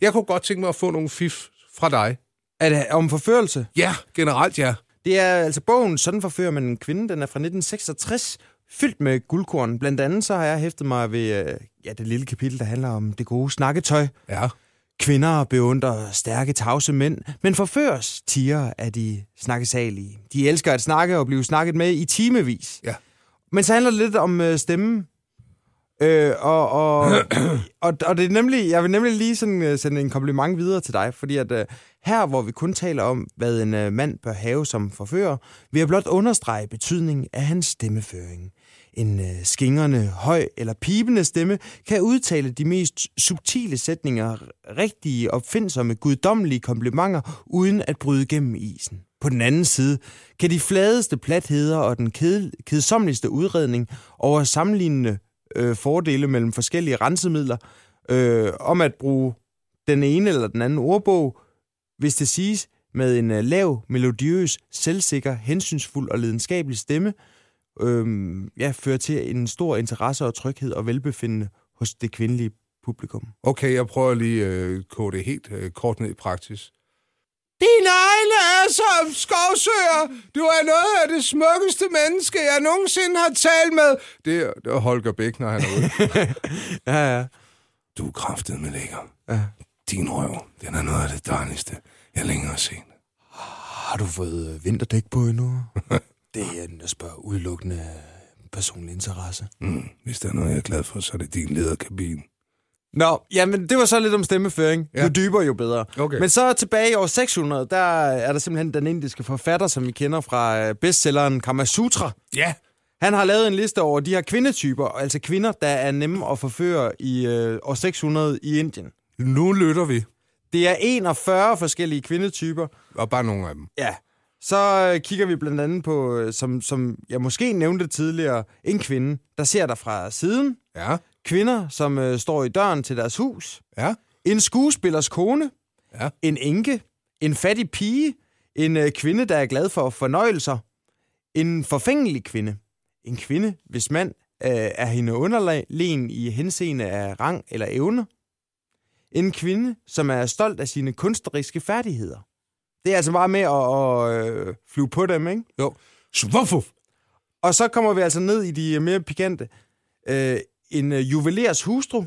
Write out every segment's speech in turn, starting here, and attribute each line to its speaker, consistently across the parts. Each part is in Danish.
Speaker 1: Jeg kunne godt tænke mig at få nogle fif fra dig.
Speaker 2: Er det om forførelse?
Speaker 1: Ja, generelt ja.
Speaker 2: Det er altså bogen, Sådan forfører man en kvinde, den er fra 1966, fyldt med guldkorn. Blandt andet så har jeg hæftet mig ved øh, ja, det lille kapitel, der handler om det gode snakketøj.
Speaker 1: Ja.
Speaker 2: Kvinder beundrer stærke, tavse mænd, men forføres tiger af de snakkesalige. De elsker at snakke og blive snakket med i timevis.
Speaker 1: Ja.
Speaker 2: Men så handler det lidt om øh, stemmen. Øh, og, og, og, og det er nemlig, jeg vil nemlig lige sådan, øh, sende en kompliment videre til dig, fordi at øh, her, hvor vi kun taler om, hvad en øh, mand bør have som forfører, vil jeg blot understrege betydningen af hans stemmeføring. En øh, skingrende, høj eller pibende stemme kan udtale de mest subtile sætninger, rigtige, opfindsomme, guddommelige komplimenter, uden at bryde gennem isen. På den anden side kan de fladeste platheder og den ked- kedsommeligste udredning over sammenlignende øh, fordele mellem forskellige rensemidler øh, om at bruge den ene eller den anden ordbog, hvis det siges med en øh, lav, melodiøs, selvsikker, hensynsfuld og lidenskabelig stemme, øh, ja, fører til en stor interesse og tryghed og velbefindende hos det kvindelige publikum.
Speaker 1: Okay, jeg prøver lige at øh, kode det helt øh, kort ned i praksis. Dine egne er som skovsøer. Du er noget af det smukkeste menneske, jeg nogensinde har talt med. Det er, det er Holger Bæk, når han er ude.
Speaker 2: Ja, ja.
Speaker 1: du er kraftet med lækker.
Speaker 2: Ja.
Speaker 1: Din røv, den er noget af det dejligste, jeg længere har set.
Speaker 2: Har du fået øh, vinterdæk på endnu? det er en, der spørger udelukkende øh, personlig interesse.
Speaker 1: Mm, hvis der er noget, jeg er glad for, så er det din lederkabine.
Speaker 2: Nå, jamen det var så lidt om stemmeføring. Ja.
Speaker 1: Ja.
Speaker 2: Jo dybere, jo bedre.
Speaker 1: Okay.
Speaker 2: Men så tilbage i år 600, der er der simpelthen den indiske forfatter, som vi kender fra øh, bestselleren Kama Sutra.
Speaker 1: Ja.
Speaker 2: Han har lavet en liste over de her kvindetyper, altså kvinder, der er nemme at forføre i øh, år 600 i Indien.
Speaker 1: Nu lytter vi.
Speaker 2: Det er 41 forskellige kvindetyper.
Speaker 1: Og bare nogle af dem.
Speaker 2: Ja. Så øh, kigger vi blandt andet på, øh, som, som jeg måske nævnte tidligere, en kvinde, der ser dig fra siden.
Speaker 1: Ja.
Speaker 2: Kvinder, som øh, står i døren til deres hus.
Speaker 1: Ja.
Speaker 2: En skuespillers kone.
Speaker 1: Ja.
Speaker 2: En enke. En fattig pige. En øh, kvinde, der er glad for fornøjelser. En forfængelig kvinde. En kvinde, hvis mand øh, er hende underlegen i henseende af rang eller evne. En kvinde, som er stolt af sine kunstneriske færdigheder. Det er altså bare med at, at øh, flyve på dem, ikke?
Speaker 1: Jo. Svofuf.
Speaker 2: Og så kommer vi altså ned i de mere pikante. Øh, en øh, juvelers hustru.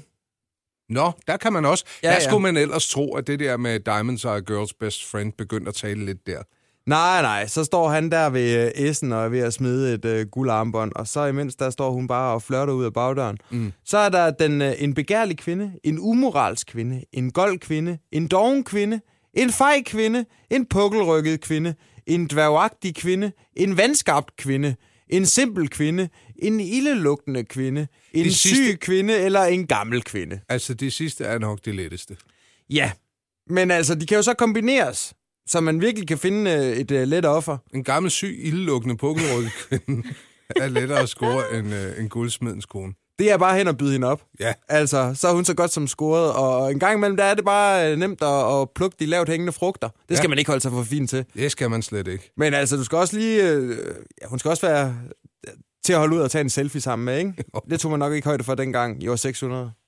Speaker 1: Nå, der kan man også.
Speaker 2: Ja,
Speaker 1: Ja, der
Speaker 2: ja.
Speaker 1: skulle man ellers tro, at det der med Diamonds Are a Girl's Best Friend begyndte at tale lidt der.
Speaker 2: Nej, nej, så står han der ved øh, Essen og er ved at smide et øh, guldarmbånd, og så imens der står hun bare og flørter ud af bagdøren. Mm. Så er der den, øh, en begærlig kvinde, en umoralsk kvinde, en gold kvinde, en doven kvinde, en fej kvinde, en pukkelrykket kvinde, en dværgagtig kvinde, en vandskabt kvinde, en simpel kvinde, en ildelugtende kvinde, en
Speaker 1: Det sidste-
Speaker 2: syg kvinde eller en gammel kvinde.
Speaker 1: Altså, det sidste er nok det letteste.
Speaker 2: Ja, men altså, de kan jo så kombineres, så man virkelig kan finde øh, et øh, let offer.
Speaker 1: En gammel, syg, ildelukkende pukkelrykkekvinde er lettere at score end, øh, end guldsmedens kone.
Speaker 2: Det er bare hen og byde hende op.
Speaker 1: Ja.
Speaker 2: Altså, så er hun så godt som scoret, og en gang imellem, der er det bare øh, nemt at, at plukke de lavt hængende frugter. Det skal ja.
Speaker 1: Ja.
Speaker 2: man ikke holde sig for fint til.
Speaker 1: Det skal man slet ikke.
Speaker 2: Men altså, du skal også lige... Øh, ja, hun skal også være øh, til at holde ud og tage en selfie sammen med, ikke? Det tog man nok ikke højde for dengang i år 600.